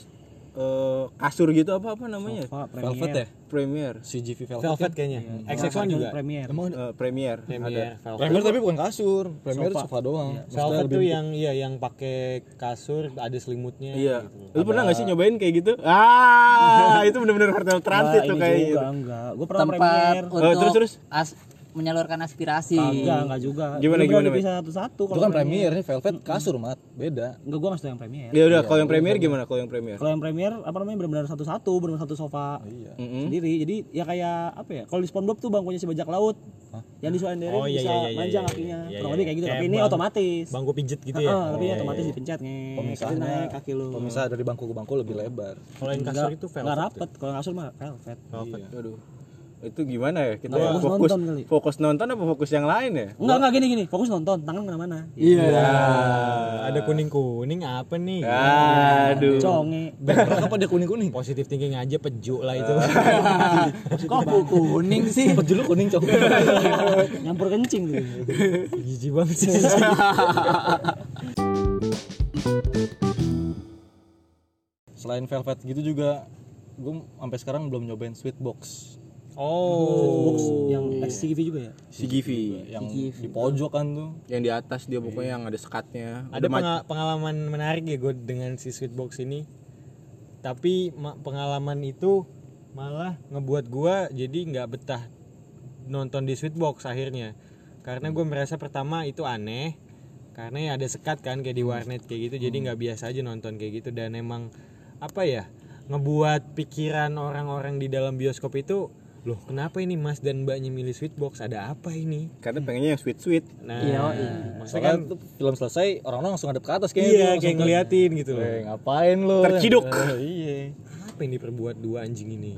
Speaker 1: eh, kasur gitu apa apa namanya
Speaker 5: Pak
Speaker 2: Velvet ya?
Speaker 1: Premier
Speaker 2: CGV Velvet. kan?
Speaker 3: Velvet kayaknya XX1
Speaker 5: Nah,
Speaker 3: juga
Speaker 5: Premier.
Speaker 2: Emang
Speaker 3: Oh,
Speaker 1: Eh, Premier
Speaker 3: Premier Velvet
Speaker 2: Premier tapi bukan kasur, Premier sofa, doang. Maksudnya
Speaker 3: Velvet
Speaker 2: lebih-
Speaker 3: tuh yang iya yang pakai kasur ada selimutnya
Speaker 1: Iya.
Speaker 3: gitu.
Speaker 1: Lu pernah gak sih nyobain kayak gitu? Ah, itu bener-bener hotel transit
Speaker 5: Enggak,
Speaker 1: tuh
Speaker 5: ini
Speaker 1: kayak gitu.
Speaker 5: juga enggak. Gue pernah
Speaker 4: tempat
Speaker 5: Premier.
Speaker 1: Eh,
Speaker 4: untuk
Speaker 1: terus, terus?
Speaker 4: as- menyalurkan aspirasi
Speaker 5: Enggak, enggak juga.
Speaker 1: Gimana,
Speaker 5: Lu
Speaker 1: gimana,
Speaker 5: berani Bisa satu-satu
Speaker 2: itu kan Premier, ini Velvet
Speaker 3: Hmm.
Speaker 2: kasur mat, beda.
Speaker 5: Enggak, gue ngasih tau yang Premier.
Speaker 3: Iya.
Speaker 1: Ya udah, kalau yang Premier gimana? Kalau yang Premier?
Speaker 5: Kalau yang Premier apa namanya benar-benar satu-satu, benar-benar satu sofa
Speaker 2: Iya.
Speaker 1: Mm-mm.
Speaker 5: sendiri. Jadi ya kayak apa ya? Kalau di SpongeBob tuh bangkunya si bajak laut. Yang disuandarin
Speaker 3: Oh, iya,
Speaker 5: bisa
Speaker 3: iya, iya, iya,
Speaker 5: manjang
Speaker 3: iya,
Speaker 5: kakinya.
Speaker 3: iya, iya,
Speaker 5: Kurang
Speaker 3: iya.
Speaker 5: lebih kayak gitu.
Speaker 3: Kayak
Speaker 5: Tapi ini
Speaker 3: bangku-
Speaker 5: otomatis.
Speaker 3: bangku pijet gitu
Speaker 5: Heeh,
Speaker 3: ya
Speaker 5: Ah,
Speaker 3: Oh,
Speaker 5: tapi
Speaker 3: iya,
Speaker 5: otomatis
Speaker 3: iya.
Speaker 5: dipencet nih.
Speaker 2: Pemisahnya.
Speaker 5: naik kaki lu.
Speaker 3: Hmm.
Speaker 2: Pemisah dari bangku ke bangku lebih lebar.
Speaker 3: kalau yang kasur itu
Speaker 5: Enggak
Speaker 3: velvet ya?
Speaker 5: rapet. Kalau yang kasur mah velvet.
Speaker 3: Velvet.
Speaker 1: Iya. Aduh. Itu gimana ya? Kita
Speaker 5: Nggak, fokus
Speaker 1: fokus
Speaker 5: nonton kali.
Speaker 1: fokus nonton apa fokus yang lain ya?
Speaker 5: Enggak, enggak gini gini. Fokus nonton, tangan kemana mana
Speaker 3: Iya.
Speaker 2: Eh,
Speaker 3: Ada kuning-kuning apa nih?
Speaker 1: Iya. Aduh.
Speaker 5: Conge.
Speaker 2: Backpack Ya. apa dia Eh. kuning kuning?
Speaker 3: Positif thinking aja pejuk lah itu.
Speaker 4: kok bu kuning sih
Speaker 2: Julu kuning cowok.
Speaker 5: Nyampur kencing gitu.
Speaker 3: Iya. Jijik banget sih.
Speaker 2: Selain Velvet gitu juga, gue sampai sekarang belum nyobain Sweetbox
Speaker 3: Oh.
Speaker 5: Box yang XTV juga ya.
Speaker 1: Si Givi
Speaker 2: yang di pojok kan tuh.
Speaker 1: yang di atas dia pokoknya yang ada sekatnya. Udah
Speaker 3: Ada penga- pengalaman menarik ya gue dengan si Sweetbox ini. Tapi ma- pengalaman itu malah ngebuat gue jadi nggak betah nonton di Sweetbox akhirnya. Karena gue merasa pertama itu aneh. Karena ya ada sekat kan kayak di warnet kayak gitu. Jadi nggak biasa aja nonton kayak gitu dan emang apa ya ngebuat pikiran orang-orang di dalam bioskop itu loh kenapa ini Mas dan Mbaknya milih Sweetbox ada apa ini?
Speaker 1: karena pengennya yang sweet-sweet.
Speaker 3: Nah,
Speaker 4: Iya, iya.
Speaker 3: maksudnya kan
Speaker 2: Soalnya tuh film selesai orang-orang langsung ngadep ke atas kayaknya.
Speaker 3: iya
Speaker 2: tuh, langsung
Speaker 3: kayak ngeliatin gitu loh.
Speaker 2: Eh, ngapain lu?
Speaker 3: Oh,
Speaker 1: Terciduk.
Speaker 2: Eh, iya.
Speaker 3: apa yang diperbuat dua anjing ini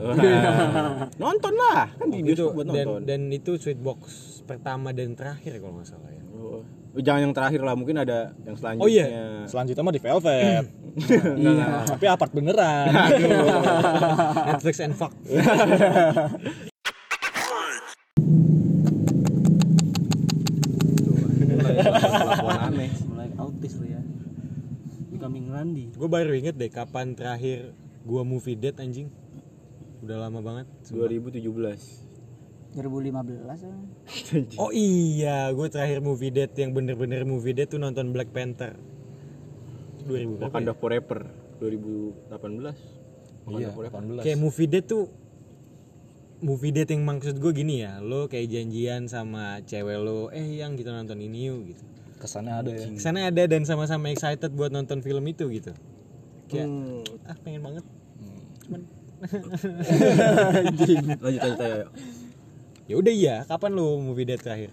Speaker 1: nonton lah, kan di
Speaker 3: Oh, itu
Speaker 1: bioskop Oh, buat
Speaker 3: dan
Speaker 1: nonton.
Speaker 3: dan itu sweet box pertama dan terakhir kalau nggak salah ya
Speaker 1: Oh, Jangan yang terakhir lah, mungkin ada yang selanjutnya.
Speaker 3: Oh, iya.
Speaker 2: Selanjutnya mah di Velvet.
Speaker 1: Iya.
Speaker 2: Tapi apart beneran.
Speaker 3: Netflix and fuck
Speaker 1: aneh.
Speaker 5: Mulai autis lu ya. Becoming Randy.
Speaker 3: gue baru inget deh kapan terakhir gua movie date anjing udah lama banget
Speaker 1: 2017.
Speaker 4: 2015 ya.
Speaker 3: oh iya gue terakhir movie date yang bener-bener movie date tuh nonton Black Panther 2000 berapa ya?
Speaker 1: Wakanda kan Forever 2018.
Speaker 2: Iya,
Speaker 1: Wakanda Forever.
Speaker 2: 18.
Speaker 3: kayak movie date tuh movie date yang maksud gue gini ya lo kayak janjian sama cewek lo eh yang kita nonton ini yuk gitu
Speaker 2: kesannya ada ya.
Speaker 3: sana ada dan sama-sama excited buat nonton film itu gitu kayak
Speaker 1: Hmm.
Speaker 3: ah pengen banget
Speaker 1: Lanjut lanjut ayo.
Speaker 3: ya udah iya kapan lu movie date terakhir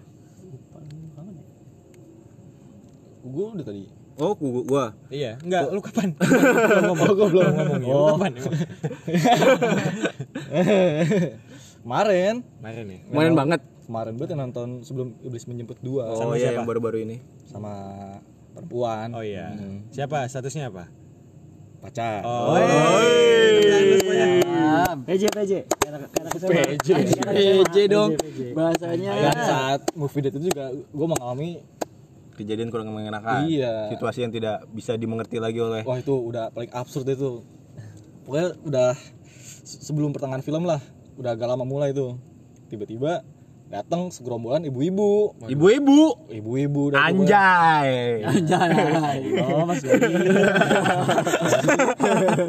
Speaker 2: Gue udah tadi.
Speaker 1: Oh, gua, gua.
Speaker 3: iya enggak lu kapan belum ngomong gue belum ngomong ya lu
Speaker 2: Oh.
Speaker 3: kapan emang?
Speaker 2: Kemarin,
Speaker 3: kemarin ya
Speaker 1: Main banget.
Speaker 2: kemarin banget yang nonton sebelum iblis menjemput dua
Speaker 1: Oh iya yang baru-baru ini.
Speaker 2: sama perempuan.
Speaker 3: oh iya
Speaker 2: Hmm,
Speaker 3: siapa statusnya apa
Speaker 2: pacar.
Speaker 3: oh, Tepuk tangan lu semuanya.
Speaker 5: PJ PJ. PJ.
Speaker 4: PJ dong bahasanya
Speaker 2: Dan
Speaker 3: Iya.
Speaker 2: saat movie date itu juga gue mengalami
Speaker 1: Kejadian kurang mengenakan.
Speaker 2: Iya.
Speaker 1: Situasi yang tidak bisa dimengerti lagi oleh
Speaker 2: wah itu udah paling absurd itu. Pokoknya udah se- sebelum pertengahan film lah, udah agak lama mulai tuh. Tiba-tiba datang segerombolan ibu-ibu,
Speaker 1: ibu-ibu.
Speaker 2: ibu-ibu dan pokoknya-
Speaker 1: Anjay.
Speaker 4: jangan
Speaker 5: Oh Mas Gadi.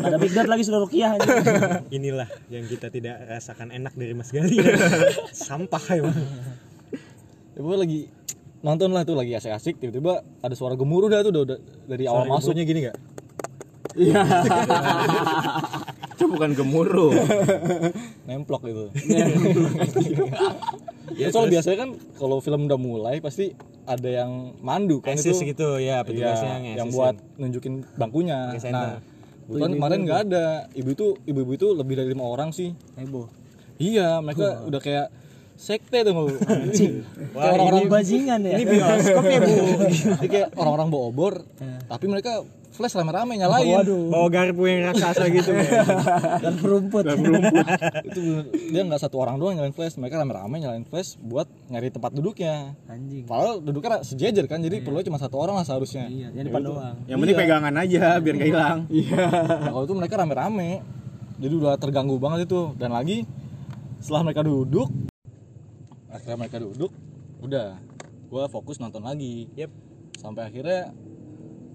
Speaker 5: Ada big dad lagi sudah rukiah aja.
Speaker 3: inilah yang kita tidak rasakan enak dari Mas Gali sampah emang
Speaker 2: Ya, pokoknya lagi nonton lah tuh lagi asik-asik tiba-tiba ada suara gemuruh dah tuh udah, udah- dari awal
Speaker 3: maksudnya
Speaker 2: masuknya
Speaker 3: gini gak?
Speaker 1: itu bukan gemuruh
Speaker 2: nemplok gitu. ya, soal biasanya kan kalau film udah mulai pasti ada yang mandu kan
Speaker 3: Assist
Speaker 2: itu.
Speaker 3: gitu ya petugasnya gitu.
Speaker 2: Iya,
Speaker 3: nge-assistin.
Speaker 2: yang buat nunjukin bangkunya.
Speaker 3: Nge-center.
Speaker 2: Nah, kebetulan kemarin nggak ada. Ibu itu ibu-ibu itu lebih dari lima orang sih.
Speaker 5: heboh
Speaker 2: Iya, mereka udah kayak sekte tuh mau.
Speaker 5: Wah, orang-orang bajingan ya
Speaker 3: ini bioskop ya bu
Speaker 2: Jadi Iya. kayak orang-orang bawa obor, tapi mereka flash rame-rame nyalain.
Speaker 5: Iya. waduh
Speaker 3: bawa garpu yang raksasa gitu
Speaker 5: dan perumput
Speaker 2: Itu bener- dia nggak satu orang doang nyalain flash, mereka rame-rame nyalain flash buat nyari tempat duduknya.
Speaker 5: anjing
Speaker 2: Padahal duduknya sejajar kan, jadi perlu cuma satu orang lah seharusnya. Ya
Speaker 5: iya yang depan doang
Speaker 6: Yang penting pegangan aja biar gak hilang.
Speaker 2: Nah, kalau itu mereka rame-rame. Jadi udah terganggu banget itu. Dan lagi setelah mereka duduk, akhirnya mereka duduk, udah gue fokus nonton lagi.
Speaker 3: Yep.
Speaker 2: Sampai akhirnya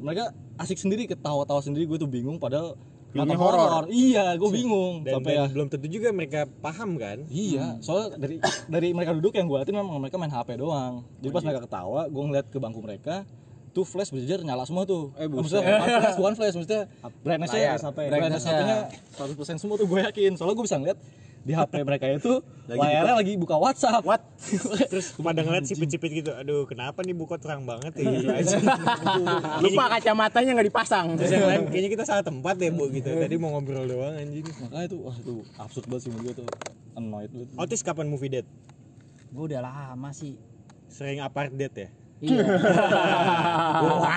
Speaker 2: mereka asik sendiri ketawa-tawa sendiri gue tuh bingung padahal
Speaker 6: Filmnya
Speaker 2: nonton
Speaker 6: horor.
Speaker 2: horor. Iya, gue bingung.
Speaker 3: dan,
Speaker 2: Sampai
Speaker 3: dan
Speaker 2: ya-
Speaker 3: belum tentu juga mereka paham kan
Speaker 2: Iya, soalnya dari dari mereka duduk yang gue liatin memang mereka main HP doang. Jadi pas mereka ketawa, gue ngeliat ke bangku mereka, tuh flash berjejer nyala semua tuh. Eh, bukan flash, bukan flash, maksudnya brightness-nya,
Speaker 5: Layar.
Speaker 2: brightness HP-nya 100% semua tuh gue yakin. Soalnya gue bisa ngeliat di HP mereka itu layarnya lagi buka WhatsApp. What?
Speaker 3: terus pada ngeliat sipit-sipit gitu aduh kenapa nih buku terang banget ya gitu aja
Speaker 6: Lupa kacamatanya nggak dipasang.
Speaker 3: terus yang lain kayaknya kita salah tempat deh bu gitu tadi mau ngobrol doang anjing
Speaker 2: Makanya itu, wah tuh absurd banget sih menurut gue tuh. Annoyed banget.
Speaker 3: Otis kapan movie date
Speaker 4: gue udah lama sih
Speaker 3: sering apart date ya
Speaker 4: iya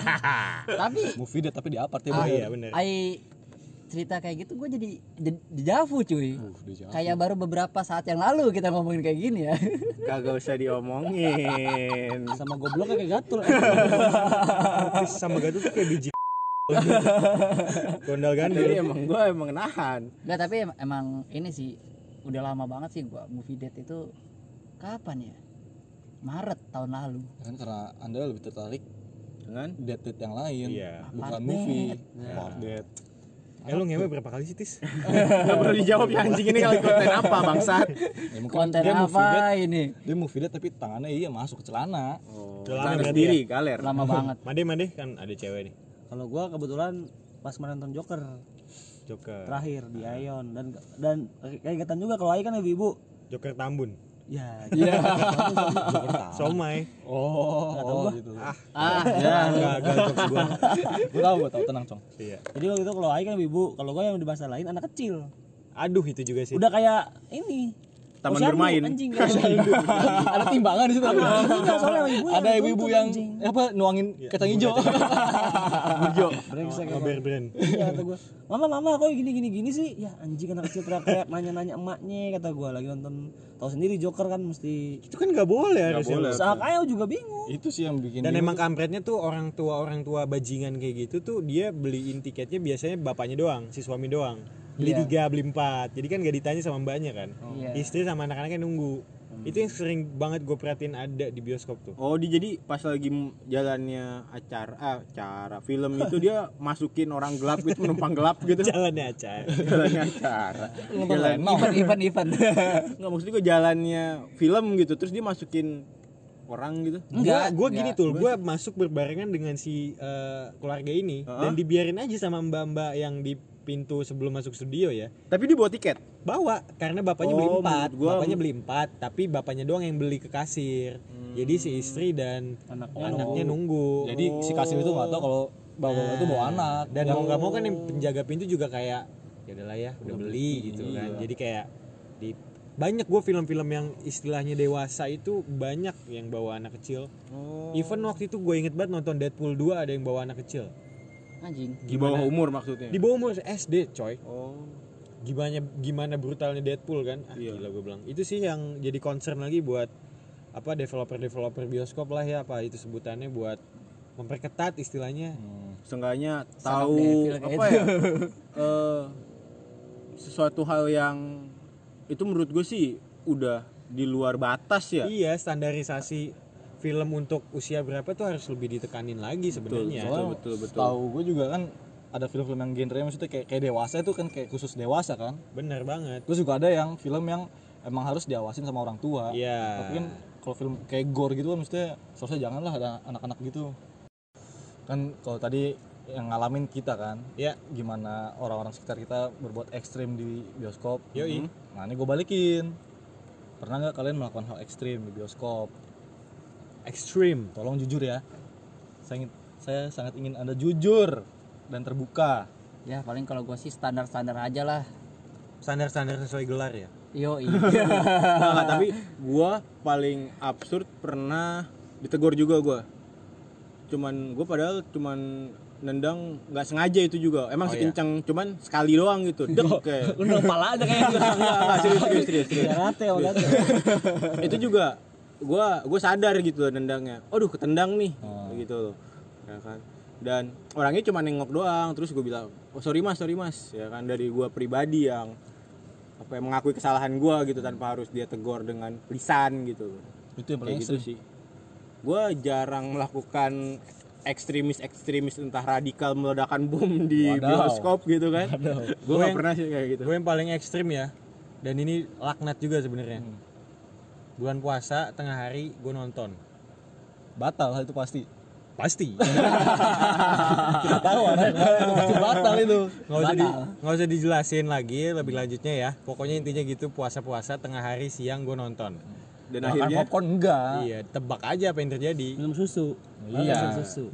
Speaker 4: tapi
Speaker 2: Movie deh tapi di apart ya.
Speaker 3: oh
Speaker 2: Boy.
Speaker 3: iya bener
Speaker 4: ai cerita kayak gitu gue jadi de- dejavu cuy
Speaker 2: Uh, udah jauh.
Speaker 4: kayak baru beberapa saat yang lalu kita ngomongin kayak gini ya
Speaker 6: Kagak usah diomongin.
Speaker 5: sama goblok kayak gatul
Speaker 3: Otis sama Gatot tuh kayak biji Oh, gitu. gondal
Speaker 6: Jadi
Speaker 3: gandul
Speaker 6: emang gue emang nahan.
Speaker 4: Nggak, tapi em- emang ini sih udah lama banget sih gua movie date itu kapan ya Maret tahun lalu
Speaker 2: Kan karena anda lebih tertarik
Speaker 1: Kan?
Speaker 6: Dengan
Speaker 2: date yang lain,
Speaker 3: Iya.
Speaker 2: bukan
Speaker 4: Apart
Speaker 2: movie.
Speaker 4: date.
Speaker 2: Apart date.
Speaker 3: eh lu ngewe berapa kali sih Tis
Speaker 6: nggak perlu dijawab ya anjing ini kalau konten apa bangsat.
Speaker 2: Ya, mungkin
Speaker 4: konten
Speaker 2: dia movie date
Speaker 4: apa ini
Speaker 2: dia mau fillet tapi tangannya iya masuk ke celana
Speaker 6: Oh,
Speaker 3: Udah lama berarti
Speaker 6: sendiri galer.
Speaker 4: lama banget
Speaker 3: made made kan ada cewek nih
Speaker 5: kalau gua kebetulan pas menonton Joker
Speaker 3: Joker
Speaker 5: terakhir di Ion dan dan keingetan juga kalau Ai kan ibu-ibu
Speaker 3: Joker Tambun
Speaker 5: ya
Speaker 3: Somai
Speaker 2: oh, oh gitu
Speaker 4: ah
Speaker 3: Enggak, enggak, jokes gua.
Speaker 2: gue tau gue tau tenang cong
Speaker 3: Iya.
Speaker 5: jadi waktu itu kalau Ai kan ibu kalau gua yang dibahas lain anak kecil
Speaker 3: Aduh itu juga sih.
Speaker 5: udah kayak ini
Speaker 6: Taman
Speaker 5: posyandu,
Speaker 6: bermain.
Speaker 5: anjing kayak
Speaker 2: ada timbangan di situ
Speaker 5: ibunya, soalnya sama ibunya
Speaker 2: ada
Speaker 5: yang
Speaker 2: ibu-ibu
Speaker 5: tuntut,
Speaker 2: yang Iya,
Speaker 5: anjing.
Speaker 2: apa nuangin kacang hijau
Speaker 5: brengsek
Speaker 3: Ngobrol brand.
Speaker 5: iya kata gua mama mama kok gini gini gini sih ya anjing anak kecil teriak-teriak nanya-nanya emaknya kata gua lagi nonton tahu sendiri Joker kan mesti
Speaker 3: Itu kan nggak boleh harusnya.
Speaker 6: boleh.
Speaker 5: saat Ayo juga bingung
Speaker 2: itu sih yang bikin
Speaker 3: Dan
Speaker 2: dia-
Speaker 3: emang kampretnya tuh orang tua orang tua bajingan kayak gitu tuh dia beliin tiketnya biasanya bapaknya doang, si suami doang. Beli
Speaker 4: Iya.
Speaker 3: tiga, beli empat. Jadi kan nggak ditanya sama mbaknya kan.
Speaker 4: Iya.
Speaker 3: Istri sama anak-anaknya nunggu. Itu yang sering banget gue perhatiin ada di bioskop tuh.
Speaker 6: Oh, di jadi pas lagi m- jalannya acara ah, acara film itu dia masukin orang gelap gitu menumpang gelap gitu.
Speaker 3: Jalannya acar.
Speaker 6: jalannya acara. Jalan.
Speaker 2: Jalan. Mau.
Speaker 4: event event
Speaker 6: Enggak maksud gue jalannya film gitu terus dia masukin orang gitu.
Speaker 3: Enggak,
Speaker 4: Enggak,
Speaker 3: gue gini
Speaker 4: enggak.
Speaker 3: tuh, gue masuk berbarengan dengan si eh, keluarga ini
Speaker 6: Heeh.
Speaker 3: dan dibiarin aja sama mbak-mbak yang di pintu sebelum masuk studio ya.
Speaker 6: Tapi dia bawa tiket.
Speaker 3: bawa karena bapaknya
Speaker 6: Oh,
Speaker 3: beli empat
Speaker 6: menurut gua-
Speaker 3: bapaknya beli empat tapi bapaknya doang yang beli ke kasir jadi si istri dan
Speaker 5: anaknya
Speaker 3: anaknya nunggu
Speaker 2: Hmm.
Speaker 3: Nah,
Speaker 2: jadi si kasir itu nggak tahu kalau bawa itu bawa anak Oh.
Speaker 3: dan mau nggak mau kan yang penjaga pintu juga kayak ya udahlah ya udah beli gitu kan
Speaker 2: iya.
Speaker 3: jadi kayak di banyak gue film-film yang istilahnya dewasa itu banyak yang bawa anak kecil
Speaker 2: Oh.
Speaker 3: even waktu itu gue inget banget nonton Deadpool 2 ada yang bawa anak kecil
Speaker 4: anjing
Speaker 6: Di bawah umur maksudnya.
Speaker 3: di bawah umur SD coy
Speaker 6: Oh.
Speaker 3: gimana gimana brutalnya Deadpool kan ah,
Speaker 2: Iya.
Speaker 3: gila gue bilang itu sih yang jadi concern lagi buat apa developer developer bioskop lah ya apa itu sebutannya buat memperketat istilahnya
Speaker 2: Hmm.
Speaker 6: Seenggaknya
Speaker 4: Sanak
Speaker 6: tahu
Speaker 4: devil kayak
Speaker 6: apa
Speaker 4: itu.
Speaker 6: ya? eh, sesuatu hal yang itu menurut gue sih udah di luar batas ya.
Speaker 3: iya standarisasi film untuk usia berapa tuh harus lebih ditekanin lagi sebenarnya
Speaker 2: soalnya
Speaker 6: betul, betul.
Speaker 2: tahu gue juga kan ada film-film yang genre maksudnya kayak kayak dewasa itu kan kayak khusus dewasa kan
Speaker 3: bener banget
Speaker 2: terus juga ada yang film yang emang harus diawasin sama orang tua
Speaker 3: Iya.
Speaker 2: tapi kan kalau film kayak gore gitu kan maksudnya seharusnya janganlah ada anak-anak gitu kan kalau tadi yang ngalamin kita kan
Speaker 3: Ya.
Speaker 2: gimana orang-orang sekitar kita berbuat ekstrim di bioskop
Speaker 3: Yoi.
Speaker 2: nah ini gue balikin pernah nggak kalian melakukan hal ekstrim di bioskop
Speaker 3: Extreme.
Speaker 2: tolong jujur ya saya ingin- saya sangat ingin anda jujur dan terbuka
Speaker 4: ya paling kalau gue sih standar standar aja lah
Speaker 3: Standar-standar sesuai gelar ya.
Speaker 4: yo
Speaker 1: Nah, nggak, tapi gua paling absurd pernah ditegur juga gua. Cuman gua padahal cuman nendang nggak sengaja itu juga. Emang sekencang cuman sekali doang gitu. Dek kayak.
Speaker 5: Lu udah kepala aja kayak
Speaker 1: Nggak, nggak, serius, serius, serius, serius.
Speaker 5: karate udah.
Speaker 1: itu juga gua gua sadar gitu loh nendangnya. Aduh, ketendang nih gitu loh. Ya kan. Dan orangnya cuma nengok doang terus gue bilang, "Oh, sorry Mas, sorry Mas." Ya kan dari gua pribadi yang apa yang mengakui kesalahan gua gitu tanpa harus dia tegur dengan lisan gitu loh.
Speaker 2: itu yang
Speaker 1: kayak gitu
Speaker 2: paling ekstrim
Speaker 1: sih gue jarang melakukan ekstremis ekstremis entah radikal meledakan bom di
Speaker 2: Wadaw.
Speaker 1: bioskop gitu kan gue nggak pernah sih kayak gitu
Speaker 3: Gue yang paling ekstrim ya. Dan ini laknat juga sebenarnya.
Speaker 2: Hmm.
Speaker 3: Bulan puasa tengah hari gue nonton.
Speaker 2: batal hal itu pasti
Speaker 3: Pasti.
Speaker 2: kita tahu anak itu pasti batal itu
Speaker 3: nggak usah di, nggak usah dijelasin lagi lebih lanjutnya ya. Pokoknya intinya gitu puasa-puasa tengah hari siang gue nonton.
Speaker 1: dan
Speaker 2: makan
Speaker 1: akhirnya
Speaker 2: popcorn enggak
Speaker 1: Ah.
Speaker 3: Iya, tebak aja apa yang terjadi.
Speaker 5: Minum susu.
Speaker 2: Iya.
Speaker 5: Minum susu.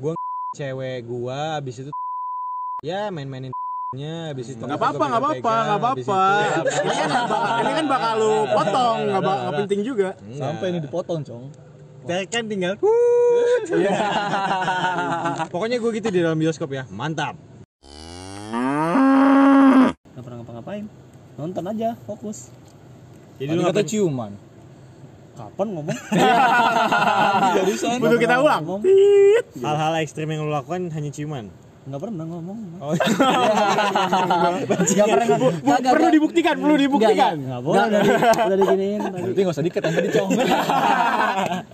Speaker 3: cewek gua abis itu ya main-mainin nya abis itu
Speaker 1: nggak apa-apa nggak apa-apa nggak apa-apa ini kan bakal, ini kan bakal lu potong nggak bak- nggak penting juga
Speaker 2: sampai
Speaker 5: Iya.
Speaker 2: ini dipotong cong
Speaker 3: ya, kan tinggal
Speaker 1: Iya.
Speaker 3: pokoknya gue gitu di dalam bioskop ya mantap
Speaker 5: Gak pernah ngapa-ngapain. Nonton aja, fokus.
Speaker 3: jadi
Speaker 2: Tadi
Speaker 3: lu
Speaker 2: kata
Speaker 3: ngapain
Speaker 2: ciuman
Speaker 5: Kapan ngomong?
Speaker 2: jurusan
Speaker 1: butuh kita ulang
Speaker 5: Ngomong.
Speaker 3: hal-hal ekstrim yang lu lakukan hanya ciuman
Speaker 5: Gak pernah ngomong.
Speaker 3: oh
Speaker 4: nggak pernah nggak
Speaker 1: perlu dibuktikan perlu dibuktikan
Speaker 5: Gak boleh. Udah, di, udah diginiin tadi.
Speaker 2: berarti nggak usah diket yang tadi cong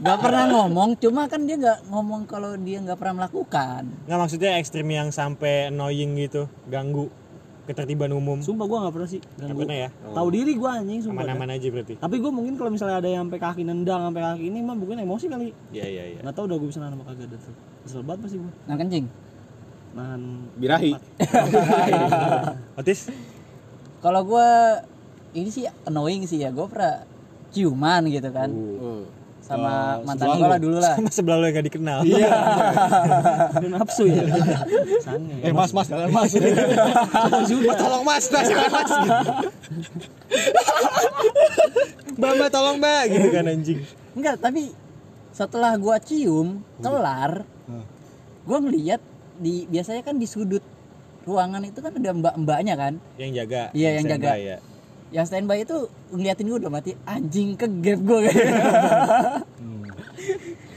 Speaker 4: nggak pernah ngomong cuma kan dia nggak ngomong kalau dia nggak pernah melakukan
Speaker 3: nggak maksudnya ekstrim yang sampai annoying gitu ganggu ketertiban umum
Speaker 5: Sumpah gue gak pernah sih.
Speaker 3: Nggak
Speaker 5: Ganggu.
Speaker 3: pernah ya
Speaker 5: Tahu diri gue anjing sumpah. dah.
Speaker 3: aman-aman aja berarti
Speaker 5: Tapi gue mungkin kalau misalnya ada yang sampai kaki nendang sampai kaki ini mah mungkin emosi kali.
Speaker 3: iya iya iya
Speaker 5: Gak tau udah gue bisa nahan apa kagak dah tuh. Kesel banget pasti gue.
Speaker 4: nah kencing
Speaker 5: Nahan.
Speaker 1: birahi
Speaker 3: Otis
Speaker 4: kalau gua ini sih annoying sih ya gue pernah ciuman gitu kan
Speaker 3: Oh,
Speaker 4: sama mantan gue lah dulu lah
Speaker 3: sama sebelah eh, lu yang gak dikenal
Speaker 5: Udah nafsu ya. Sange.
Speaker 2: eh mas mas jangan mas
Speaker 1: Iya.
Speaker 3: Mbak tolong mas, mas jangan mas gitu. Mbak mbak tolong mbak gitu kan anjing.
Speaker 4: enggak tapi setelah gua
Speaker 3: Hmm.
Speaker 4: cium kelar gua ngeliat di biasanya kan di sudut ruangan itu kan ada mbak-mbaknya kan
Speaker 3: Yang jaga.
Speaker 4: Iya, yang jaga.
Speaker 3: standby ya.
Speaker 4: yang standby itu ngeliatin gue udah mati anjing ke gap gue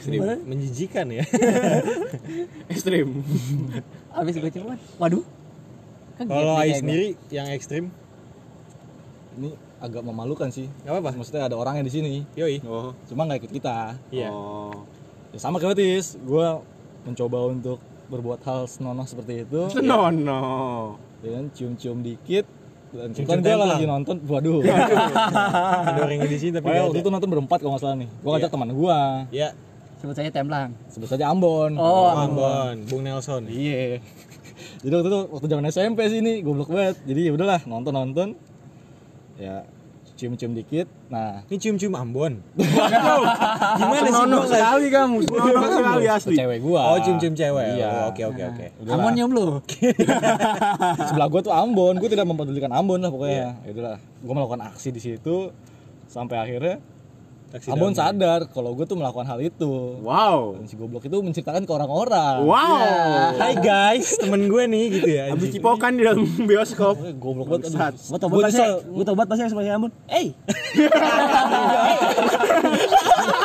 Speaker 3: Serius, menjijikan ya.
Speaker 1: ekstrim
Speaker 4: abis gue ciuman waduh kegap
Speaker 3: Kalau
Speaker 4: nih
Speaker 3: Ai
Speaker 4: kayak gua.
Speaker 3: sendiri yang ekstrim,
Speaker 2: ini agak memalukan sih
Speaker 3: nggak apa-apa.
Speaker 2: maksudnya ada orangnya di sini
Speaker 3: Yoi.
Speaker 1: oh
Speaker 2: cuma nggak ikut kita
Speaker 3: Iya.
Speaker 1: oh
Speaker 2: ya sama kayak Otis gue mencoba untuk berbuat hal senonoh seperti itu
Speaker 1: no no
Speaker 2: dan cium-cium dikit dan
Speaker 3: Cium-cium Iya,
Speaker 2: kan gue
Speaker 3: templang.
Speaker 2: lagi nonton waduh
Speaker 3: Ada orang yang di sini tapi
Speaker 2: Pokoknya
Speaker 3: nggak
Speaker 2: waktu
Speaker 3: ada.
Speaker 2: itu nonton berempat kalau nggak salah nih gue ngajak teman gue
Speaker 3: Ya,
Speaker 4: sebut saya templang
Speaker 2: sebut saja Ambon
Speaker 4: oh
Speaker 3: Ambon, Bung Nelson.
Speaker 2: Iya. Jadi waktu itu waktu zaman SMP sih ini goblok banget. Jadi ya udahlah nonton nonton. Ya cium-cium dikit. Nah,
Speaker 3: Ini cium-cium Ambon.
Speaker 1: gimana sih nono sekali kamu nono sekali
Speaker 2: ke
Speaker 1: asli
Speaker 2: cewek
Speaker 3: Oh,
Speaker 2: gua.
Speaker 3: cium-cium cewek.
Speaker 2: Iya.
Speaker 3: Oh, Oke, oke, oke.
Speaker 2: Udahlah.
Speaker 4: Amon nyium lu
Speaker 2: Sebelah gua tuh Ambon. Gua tidak mempedulikan Ambon lah pokoknya. Ya udahlah. Gua melakukan aksi di situ sampai akhirnya
Speaker 3: Taksi
Speaker 2: Ambon
Speaker 3: dalam.
Speaker 2: sadar kalau gua tuh melakukan hal itu.
Speaker 1: wow
Speaker 2: Dan si goblok itu menceritakan ke orang-orang.
Speaker 1: wow
Speaker 3: Iya. Hai guys, temen gue nih gitu ya.
Speaker 1: habis
Speaker 3: anjing.
Speaker 1: cipokan di dalam bioskop
Speaker 2: Pokoknya Goblok banget. aduh.
Speaker 1: Bangsat.
Speaker 5: Gue
Speaker 2: Gua
Speaker 5: tobat pasti, gue tobat pasti
Speaker 2: nyesel.
Speaker 5: sama si Ambon. Eh,